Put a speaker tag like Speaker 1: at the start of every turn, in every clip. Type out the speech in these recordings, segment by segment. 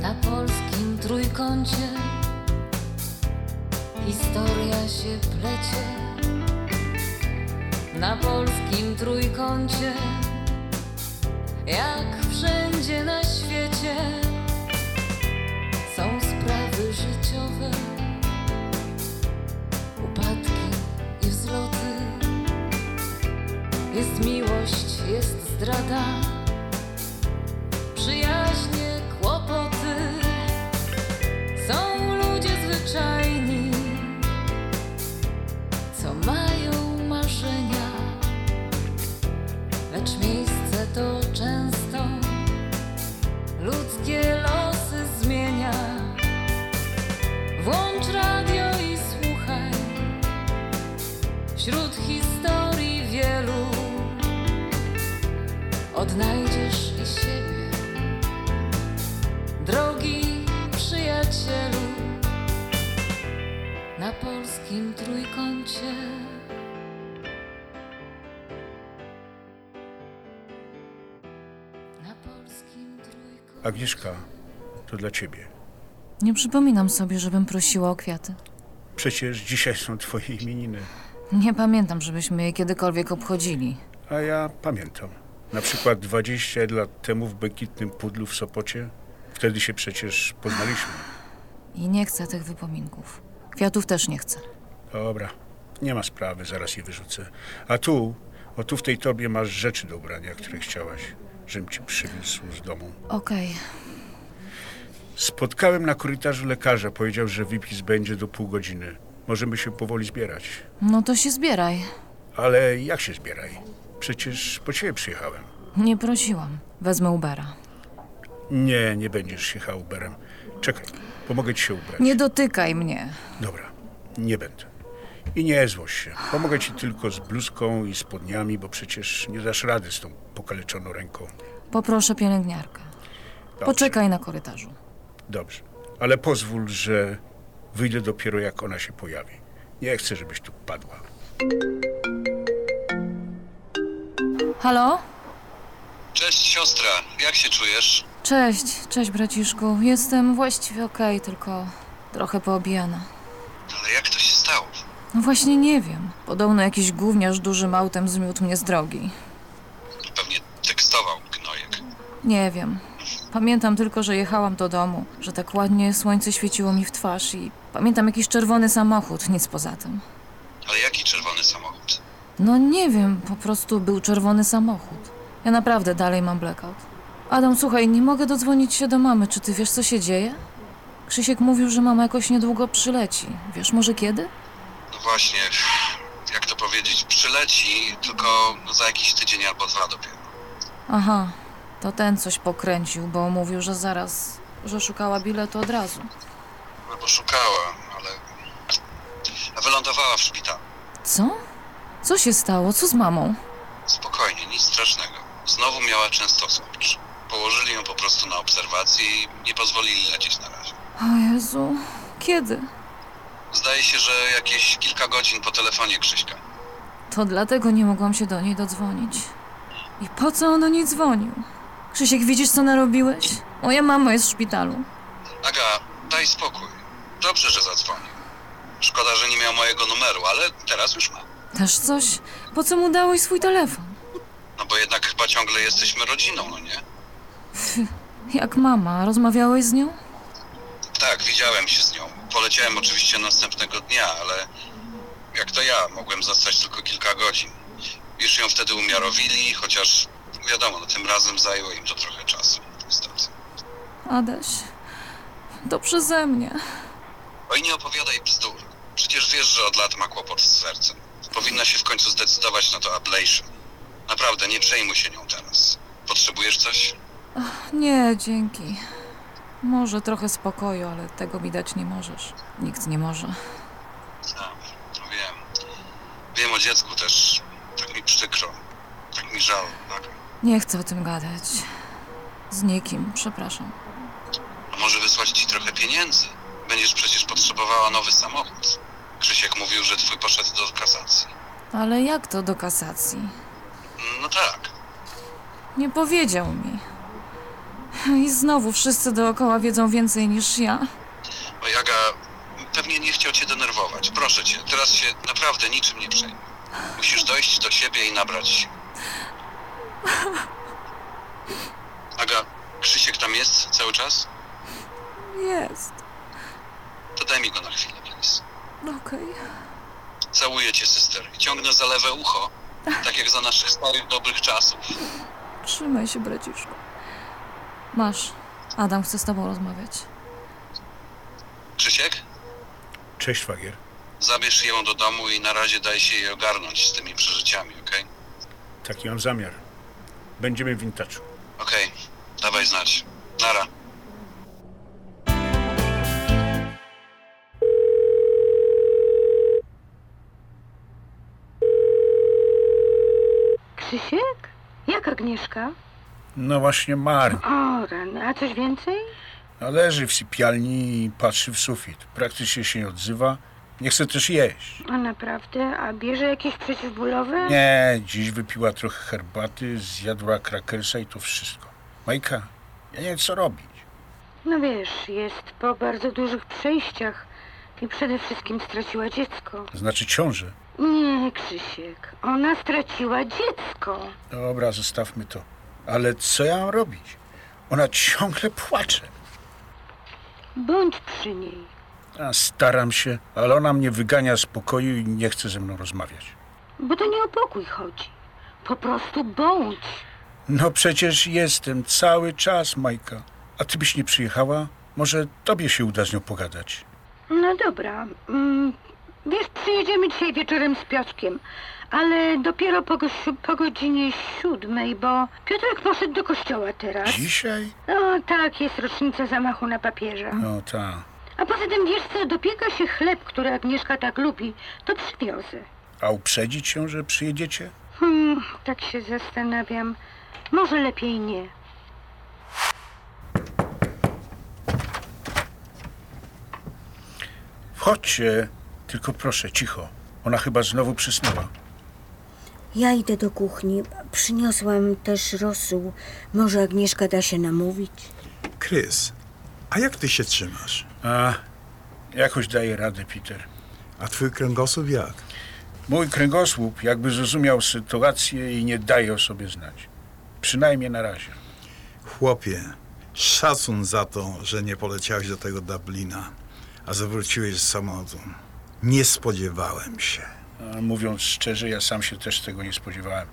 Speaker 1: na polskim trójkącie historia się plecie. Na polskim trójkącie, jak wszędzie na świecie, są sprawy życiowe, upadki i wzloty. Jest miłość, jest zdrada przyjaźnie, kłopoty. Są ludzie zwyczajni, co mają marzenia, lecz miejsce to często ludzkie losy zmienia. Włącz radio i słuchaj wśród historii wielu. Odnajdziesz i siebie. Drogi przyjacielu, na polskim trójkącie. Na polskim trójkącie.
Speaker 2: Agnieszka, to dla ciebie.
Speaker 3: Nie przypominam sobie, żebym prosiła o kwiaty.
Speaker 2: Przecież dzisiaj są twoje imieniny.
Speaker 3: Nie pamiętam, żebyśmy je kiedykolwiek obchodzili.
Speaker 2: A ja pamiętam. Na przykład 20 lat temu w Bekitnym Pudlu w Sopocie. Wtedy się przecież poznaliśmy.
Speaker 3: I nie chcę tych wypominków. Kwiatów też nie chcę.
Speaker 2: Dobra, nie ma sprawy, zaraz je wyrzucę. A tu, o tu w tej torbie masz rzeczy do ubrania, które chciałaś, żebym ci przywiózł z domu.
Speaker 3: Okej,
Speaker 2: Spotkałem na korytarzu lekarza, powiedział, że wypis będzie do pół godziny. Możemy się powoli zbierać.
Speaker 3: no to się zbieraj.
Speaker 2: Ale jak się zbieraj? Przecież po ciebie przyjechałem.
Speaker 3: Nie prosiłam. Wezmę Ubera.
Speaker 2: Nie, nie będziesz jechał Uberem. Czekaj, pomogę ci się ubrać.
Speaker 3: Nie dotykaj mnie.
Speaker 2: Dobra, nie będę. I nie złoś się. Pomogę ci tylko z bluzką i spodniami, bo przecież nie dasz rady z tą pokaleczoną ręką.
Speaker 3: Poproszę pielęgniarkę.
Speaker 2: Dobrze,
Speaker 3: Poczekaj na korytarzu.
Speaker 2: Dobrze, ale pozwól, że wyjdę dopiero jak ona się pojawi. Nie chcę, żebyś tu padła.
Speaker 3: Halo?
Speaker 4: Cześć siostra, jak się czujesz?
Speaker 3: Cześć, cześć braciszku. Jestem właściwie okej, tylko trochę poobijana.
Speaker 4: Ale jak to się stało?
Speaker 3: No właśnie nie wiem. Podobno jakiś gówniarz dużym autem zmiótł mnie z drogi.
Speaker 4: Pewnie tekstował gnojek.
Speaker 3: Nie wiem. Pamiętam tylko, że jechałam do domu, że tak ładnie słońce świeciło mi w twarz i pamiętam jakiś czerwony samochód, nic poza tym.
Speaker 4: Ale jaki czerwony samochód?
Speaker 3: No nie wiem, po prostu był czerwony samochód. Ja naprawdę dalej mam blackout. Adam, słuchaj, nie mogę dodzwonić się do mamy. Czy ty wiesz, co się dzieje? Krzysiek mówił, że mama jakoś niedługo przyleci. Wiesz może kiedy?
Speaker 4: No właśnie, jak to powiedzieć, przyleci tylko no za jakiś tydzień albo dwa dopiero.
Speaker 3: Aha, to ten coś pokręcił, bo mówił, że zaraz, że szukała biletu od razu.
Speaker 4: Albo szukała, ale wylądowała w szpitalu.
Speaker 3: Co? Co się stało? Co z mamą?
Speaker 4: Spokojnie, nic strasznego. Znowu miała często skurcz. Położyli ją po prostu na obserwacji i nie pozwolili lecieć na razie.
Speaker 3: O Jezu, kiedy?
Speaker 4: Zdaje się, że jakieś kilka godzin po telefonie Krzyśka.
Speaker 3: To dlatego nie mogłam się do niej dodzwonić. I po co on do niej dzwonił? Krzysiek, widzisz co narobiłeś? Moja mama jest w szpitalu.
Speaker 4: Aga, daj spokój. Dobrze, że zadzwonił. Szkoda, że nie miał mojego numeru, ale teraz już ma.
Speaker 3: Też coś? Po co mu dałeś swój telefon?
Speaker 4: No bo jednak chyba ciągle jesteśmy rodziną, no nie?
Speaker 3: Jak mama, rozmawiałeś z nią?
Speaker 4: Tak, widziałem się z nią. Poleciałem oczywiście następnego dnia, ale jak to ja, mogłem zostać tylko kilka godzin. Już ją wtedy umiarowili, chociaż wiadomo, no, tym razem zajęło im to trochę czasu. Niestety.
Speaker 3: Adaś, to przeze mnie.
Speaker 4: Oj, nie opowiadaj bzdur. Przecież wiesz, że od lat ma kłopot z sercem. Powinna się w końcu zdecydować na to ablation. Naprawdę, nie przejmuj się nią teraz. Potrzebujesz coś?
Speaker 3: Nie, dzięki. Może trochę spokoju, ale tego mi dać nie możesz. Nikt nie może.
Speaker 4: A, no wiem. Wiem o dziecku też. Tak mi przykro. Tak mi żal. Tak.
Speaker 3: Nie chcę o tym gadać. Z nikim, przepraszam.
Speaker 4: A może wysłać ci trochę pieniędzy? Będziesz przecież potrzebowała nowy samochód. Krzysiek mówił, że twój poszedł do kasacji.
Speaker 3: Ale jak to do kasacji?
Speaker 4: No tak.
Speaker 3: Nie powiedział mi. I znowu wszyscy dookoła wiedzą więcej niż ja.
Speaker 4: Bo Jaga pewnie nie chciał cię denerwować. Proszę cię, teraz się naprawdę niczym nie przejmuj. Musisz dojść do siebie i nabrać się. Aga, Krzysiek tam jest cały czas?
Speaker 3: Jest.
Speaker 4: To daj mi go na chwilę, please.
Speaker 3: Okej.
Speaker 4: Całuję cię, sister, i ciągnę za lewe ucho, tak jak za naszych starych, dobrych czasów.
Speaker 3: Trzymaj się, braciszku. Masz. Adam chce z tobą rozmawiać.
Speaker 4: Krzysiek,
Speaker 2: Cześć, szwagier.
Speaker 4: zabierz ją do domu i na razie daj się jej ogarnąć z tymi przeżyciami, okej?
Speaker 2: Taki mam zamiar. Będziemy w intaczu.
Speaker 4: Okej, dawaj znać. Nara.
Speaker 5: Krzysiek? Jak Agnieszka?
Speaker 2: No właśnie marnie.
Speaker 5: O, rany. A coś więcej?
Speaker 2: A Leży w sypialni i patrzy w sufit. Praktycznie się nie odzywa. Nie chce też jeść.
Speaker 5: A naprawdę? A bierze jakieś przeciwbólowe?
Speaker 2: Nie, dziś wypiła trochę herbaty, zjadła krakersa i to wszystko. Majka, ja nie wiem co robić.
Speaker 5: No wiesz, jest po bardzo dużych przejściach i przede wszystkim straciła dziecko.
Speaker 2: To znaczy ciążę.
Speaker 5: Nie, Krzysiek. Ona straciła dziecko.
Speaker 2: Dobra, zostawmy to. Ale co ja mam robić? Ona ciągle płacze.
Speaker 5: Bądź przy niej.
Speaker 2: A staram się, ale ona mnie wygania z pokoju i nie chce ze mną rozmawiać.
Speaker 5: Bo to nie o pokój chodzi. Po prostu bądź.
Speaker 2: No przecież jestem cały czas, Majka. A ty byś nie przyjechała? Może tobie się uda z nią pogadać.
Speaker 5: No dobra. Mm, wiesz, przyjedziemy dzisiaj wieczorem z Piotrkiem, ale dopiero po, goś- po godzinie siódmej, bo Piotrek poszedł do kościoła teraz.
Speaker 2: Dzisiaj?
Speaker 5: No tak, jest rocznica zamachu na papieża.
Speaker 2: No ta.
Speaker 5: A poza tym, wiesz co, dopieka się chleb, który Agnieszka tak lubi, to przywiozę.
Speaker 2: A uprzedzić ją, że przyjedziecie?
Speaker 5: Hmm, tak się zastanawiam. Może lepiej nie.
Speaker 2: Wchodźcie, tylko proszę, cicho. Ona chyba znowu przysnęła.
Speaker 6: Ja idę do kuchni. Przyniosłam też rosół. Może Agnieszka da się namówić?
Speaker 7: Krys, a jak ty się trzymasz?
Speaker 2: A, jakoś daje radę, Peter.
Speaker 7: A twój kręgosłup jak?
Speaker 2: Mój kręgosłup jakby zrozumiał sytuację i nie daje o sobie znać. Przynajmniej na razie.
Speaker 7: Chłopie, szacun za to, że nie poleciałeś do tego Dublina, a zawróciłeś z samochodu. Nie spodziewałem się.
Speaker 2: A mówiąc szczerze, ja sam się też tego nie spodziewałem.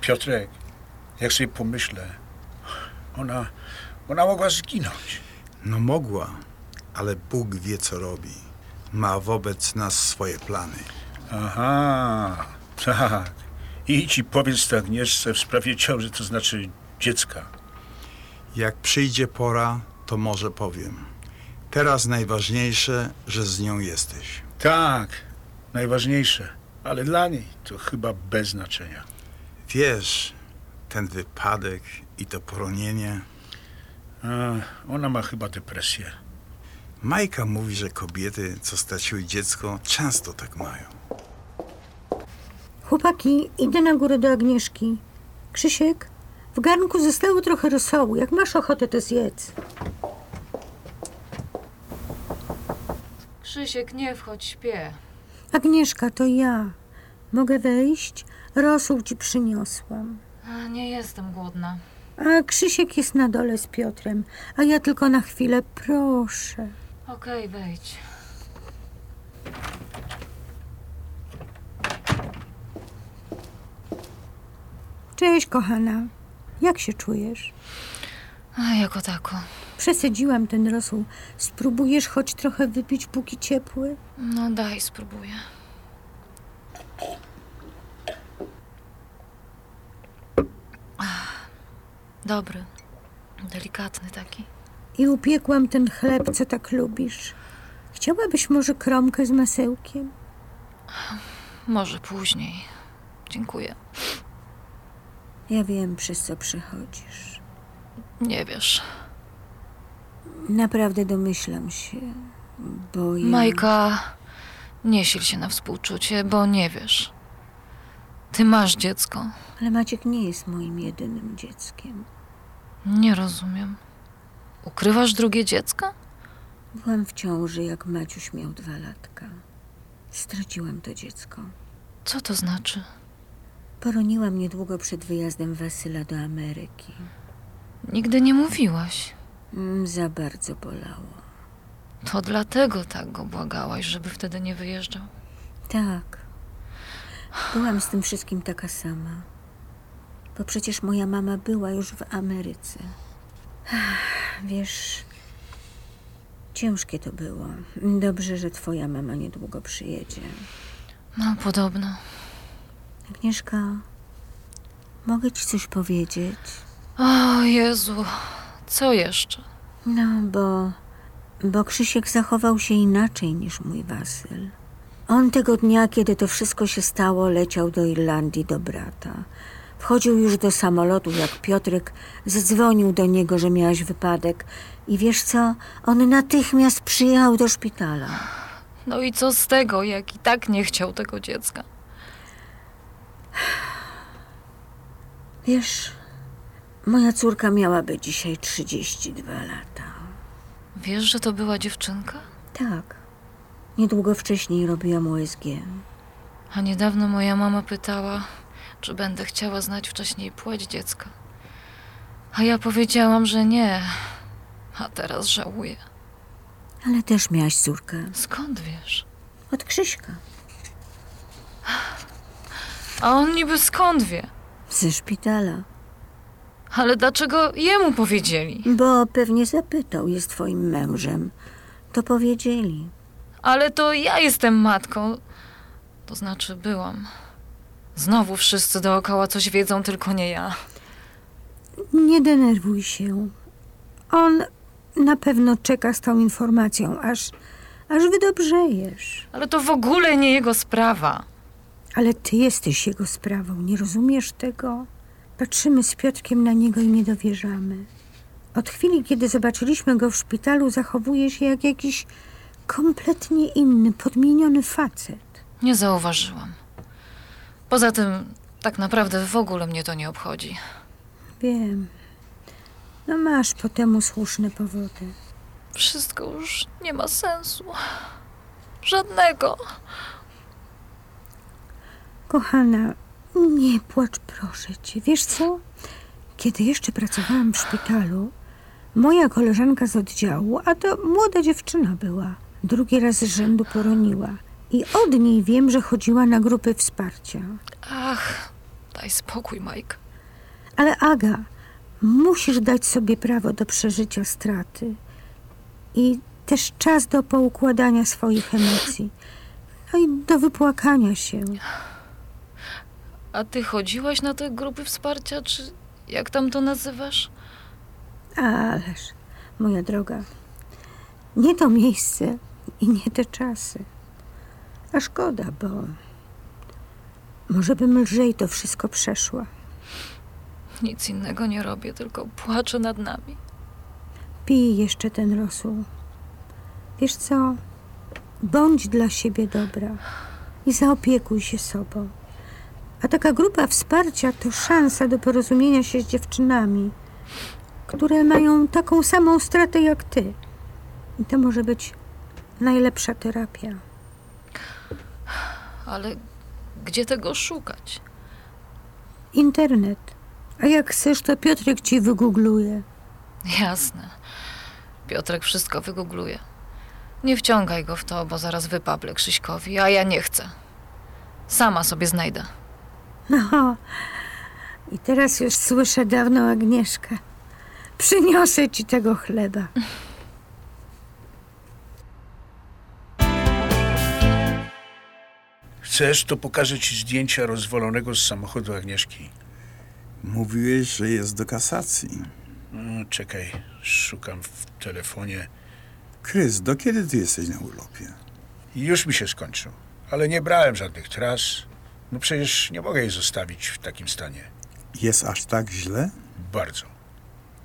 Speaker 2: Piotrek, jak sobie pomyślę, ona, ona mogła zginąć.
Speaker 7: No mogła, ale Bóg wie co robi. Ma wobec nas swoje plany.
Speaker 2: Aha, tak. Idź i powiedz to Agnieszce w sprawie ciąży, to znaczy dziecka.
Speaker 7: Jak przyjdzie pora, to może powiem. Teraz najważniejsze, że z nią jesteś.
Speaker 2: Tak, najważniejsze, ale dla niej to chyba bez znaczenia.
Speaker 7: Wiesz, ten wypadek i to poronienie.
Speaker 2: A, ona ma chyba depresję.
Speaker 7: Majka mówi, że kobiety, co straciły dziecko, często tak mają.
Speaker 6: Chłopaki, idę na górę do Agnieszki. Krzysiek, w garnku zostało trochę rosołu. Jak masz ochotę, to zjedz.
Speaker 3: Krzysiek, nie wchodź, śpię.
Speaker 6: Agnieszka, to ja. Mogę wejść? Rosół ci przyniosłam.
Speaker 3: Nie jestem głodna.
Speaker 6: A Krzysiek jest na dole z Piotrem, a ja tylko na chwilę, proszę.
Speaker 3: Okej, wejdź.
Speaker 6: Cześć, kochana. Jak się czujesz?
Speaker 3: A, jako tako.
Speaker 6: Przesadziłam ten rosół. Spróbujesz choć trochę wypić, póki ciepły?
Speaker 3: No daj, spróbuję. Ach, Dobry. Delikatny taki.
Speaker 6: i upiekłam ten chleb, co tak lubisz. Chciałabyś może kromkę z masełkiem?
Speaker 3: Może później. Dziękuję.
Speaker 6: Ja wiem, przez co przechodzisz.
Speaker 3: Nie wiesz.
Speaker 6: Naprawdę domyślam się, bo ja...
Speaker 3: Majka, nie sil się na współczucie, bo nie wiesz. Ty masz dziecko.
Speaker 6: Ale Maciek nie jest moim jedynym dzieckiem.
Speaker 3: Nie rozumiem. Ukrywasz drugie dziecko?
Speaker 6: Byłam w ciąży, jak Maciuś miał dwa latka. Straciłam to dziecko.
Speaker 3: Co to znaczy?
Speaker 6: Poroniłam niedługo przed wyjazdem Wasyla do Ameryki.
Speaker 3: Nigdy nie mówiłaś.
Speaker 6: Mm, za bardzo bolało.
Speaker 3: To dlatego tak go błagałaś, żeby wtedy nie wyjeżdżał.
Speaker 6: Tak. Byłam z tym wszystkim taka sama. Bo przecież moja mama była już w Ameryce. Ach, Wiesz, ciężkie to było. Dobrze, że twoja mama niedługo przyjedzie.
Speaker 3: No, podobno.
Speaker 6: Agnieszka, mogę ci coś powiedzieć?
Speaker 3: O Jezu, co jeszcze?
Speaker 6: No, bo. Bo Krzysiek zachował się inaczej niż mój Wasyl. On tego dnia, kiedy to wszystko się stało, leciał do Irlandii do brata. Wchodził już do samolotu, jak Piotrek zadzwonił do niego, że miałaś wypadek. I wiesz co? On natychmiast przyjechał do szpitala.
Speaker 3: No i co z tego, jak i tak nie chciał tego dziecka?
Speaker 6: Wiesz, moja córka miałaby dzisiaj 32 lata.
Speaker 3: Wiesz, że to była dziewczynka?
Speaker 6: Tak. Niedługo wcześniej robiłam USG.
Speaker 3: A niedawno moja mama pytała, czy będę chciała znać wcześniej płeć dziecka. A ja powiedziałam, że nie. A teraz żałuję.
Speaker 6: Ale też miałaś córkę.
Speaker 3: Skąd wiesz?
Speaker 6: Od Krzyśka.
Speaker 3: A on niby skąd wie?
Speaker 6: Ze szpitala.
Speaker 3: Ale dlaczego jemu powiedzieli?
Speaker 6: Bo pewnie zapytał, jest twoim mężem. To powiedzieli.
Speaker 3: Ale to ja jestem matką. To znaczy byłam. Znowu wszyscy dookoła coś wiedzą, tylko nie ja.
Speaker 6: Nie denerwuj się. On na pewno czeka z tą informacją, aż, aż wydobrzejesz.
Speaker 3: Ale to w ogóle nie jego sprawa.
Speaker 6: Ale ty jesteś jego sprawą, nie rozumiesz tego? Patrzymy z Piotrkiem na niego i nie dowierzamy. Od chwili, kiedy zobaczyliśmy go w szpitalu, zachowuje się jak jakiś kompletnie inny, podmieniony facet.
Speaker 3: Nie zauważyłam. Poza tym, tak naprawdę w ogóle mnie to nie obchodzi.
Speaker 6: Wiem. No masz po temu słuszne powody.
Speaker 3: Wszystko już nie ma sensu. Żadnego.
Speaker 6: Kochana, nie płacz, proszę cię. Wiesz co? Kiedy jeszcze pracowałam w szpitalu, moja koleżanka z oddziału, a to młoda dziewczyna była, drugi raz z rzędu poroniła. I od niej wiem, że chodziła na grupy wsparcia.
Speaker 3: Ach, daj spokój, Mike.
Speaker 6: Ale Aga, musisz dać sobie prawo do przeżycia straty i też czas do poukładania swoich emocji, no i do wypłakania się.
Speaker 3: A ty chodziłaś na te grupy wsparcia, czy jak tam to nazywasz?
Speaker 6: Ależ, moja droga, nie to miejsce i nie te czasy. A szkoda, bo może bym lżej to wszystko przeszła.
Speaker 3: Nic innego nie robię, tylko płaczę nad nami.
Speaker 6: Pij jeszcze ten rosół. Wiesz co? Bądź dla siebie dobra i zaopiekuj się sobą. A taka grupa wsparcia to szansa do porozumienia się z dziewczynami, które mają taką samą stratę jak ty. I to może być najlepsza terapia.
Speaker 3: Ale gdzie tego szukać?
Speaker 6: Internet. A jak chcesz, to Piotrek ci wygoogluje.
Speaker 3: Jasne. Piotrek wszystko wygoogluje. Nie wciągaj go w to, bo zaraz wypablę Krzyśkowi, a ja nie chcę. Sama sobie znajdę.
Speaker 6: No, i teraz już słyszę dawną Agnieszkę. Przyniosę ci tego chleba.
Speaker 2: Chcesz, to pokażę ci zdjęcia rozwalonego z samochodu Agnieszki.
Speaker 7: Mówiłeś, że jest do kasacji.
Speaker 2: Mm, Czekaj, szukam w telefonie.
Speaker 7: Krys, do kiedy ty jesteś na urlopie?
Speaker 2: Już mi się skończył, ale nie brałem żadnych tras. No przecież nie mogę jej zostawić w takim stanie.
Speaker 7: Jest aż tak źle?
Speaker 2: Bardzo.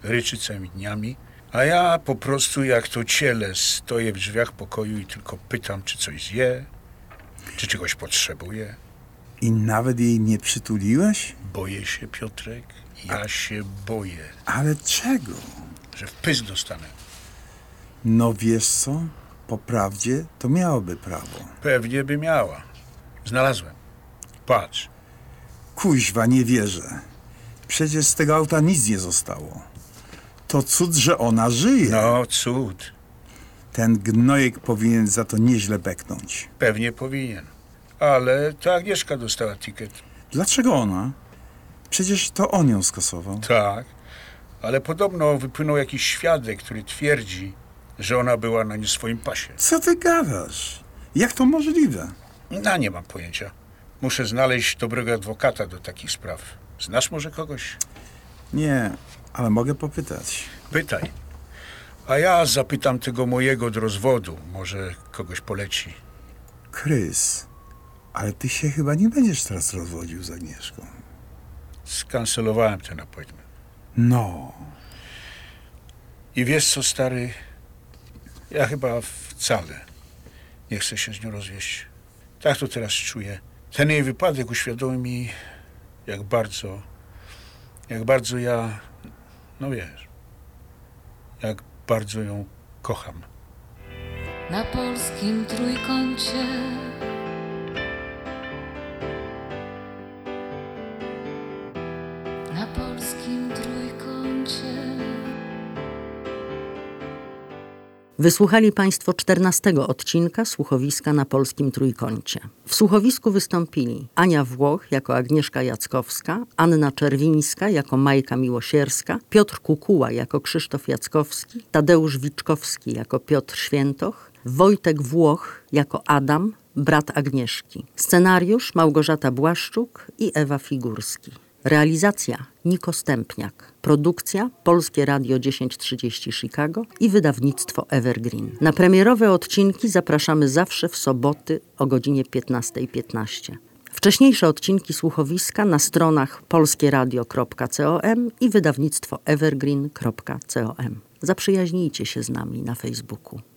Speaker 2: Ryczy całymi dniami, a ja po prostu jak to ciele stoję w drzwiach pokoju i tylko pytam, czy coś zje, czy czegoś potrzebuje.
Speaker 7: I nawet jej nie przytuliłeś?
Speaker 2: Boję się, Piotrek, Ja się boję,
Speaker 7: Ale czego?
Speaker 2: że w pysk dostanę.
Speaker 7: No wiesz co? Po prawdzie to miałoby prawo.
Speaker 2: Pewnie by miała. Znalazłem. Patrz.
Speaker 7: Kuźwa, nie wierzę. Przecież z tego auta nic nie zostało. To cud, że ona żyje.
Speaker 2: No, cud.
Speaker 7: Ten gnojek powinien za to nieźle beknąć.
Speaker 2: Pewnie powinien. Ale ta Agnieszka dostała ticket.
Speaker 7: Dlaczego ona? Przecież to on ją skasował.
Speaker 2: Tak. Ale podobno wypłynął jakiś świadek, który twierdzi, że ona była na nie swoim pasie.
Speaker 7: Co ty gadasz? Jak to możliwe?
Speaker 2: Na nie mam pojęcia. Muszę znaleźć dobrego adwokata do takich spraw. Znasz może kogoś?
Speaker 7: Nie, ale mogę popytać.
Speaker 2: Pytaj. A ja zapytam tego mojego od rozwodu. Może kogoś poleci.
Speaker 7: Krys, ale ty się chyba nie będziesz teraz rozwodził z Agnieszką.
Speaker 2: Skancelowałem ten appointment.
Speaker 7: No,
Speaker 2: I wiesz co, stary? Ja chyba wcale nie chcę się z nią rozwieść. Tak to teraz czuję. Ten jej wypadek uświadomił mi, jak bardzo, jak bardzo ja, no wiesz, jak bardzo ją kocham.
Speaker 1: na polskim trójkącie. Na polskim trójkącie.
Speaker 8: Wysłuchali Państwo 14 odcinka słuchowiska na polskim trójkącie. W słuchowisku wystąpili Ania Włoch jako Agnieszka Jackowska, Anna Czerwińska jako Majka Miłosierska, Piotr Kukuła jako Krzysztof Jackowski, Tadeusz Wiczkowski jako Piotr Świętoch, Wojtek Włoch jako Adam, brat Agnieszki. Scenariusz Małgorzata Błaszczuk i Ewa Figurski. Realizacja Niko Stępniak. Produkcja Polskie Radio 1030 Chicago i wydawnictwo Evergreen. Na premierowe odcinki zapraszamy zawsze w soboty o godzinie 15.15. Wcześniejsze odcinki słuchowiska na stronach polskieradio.com i wydawnictwo evergreen.com. Zaprzyjaźnijcie się z nami na Facebooku.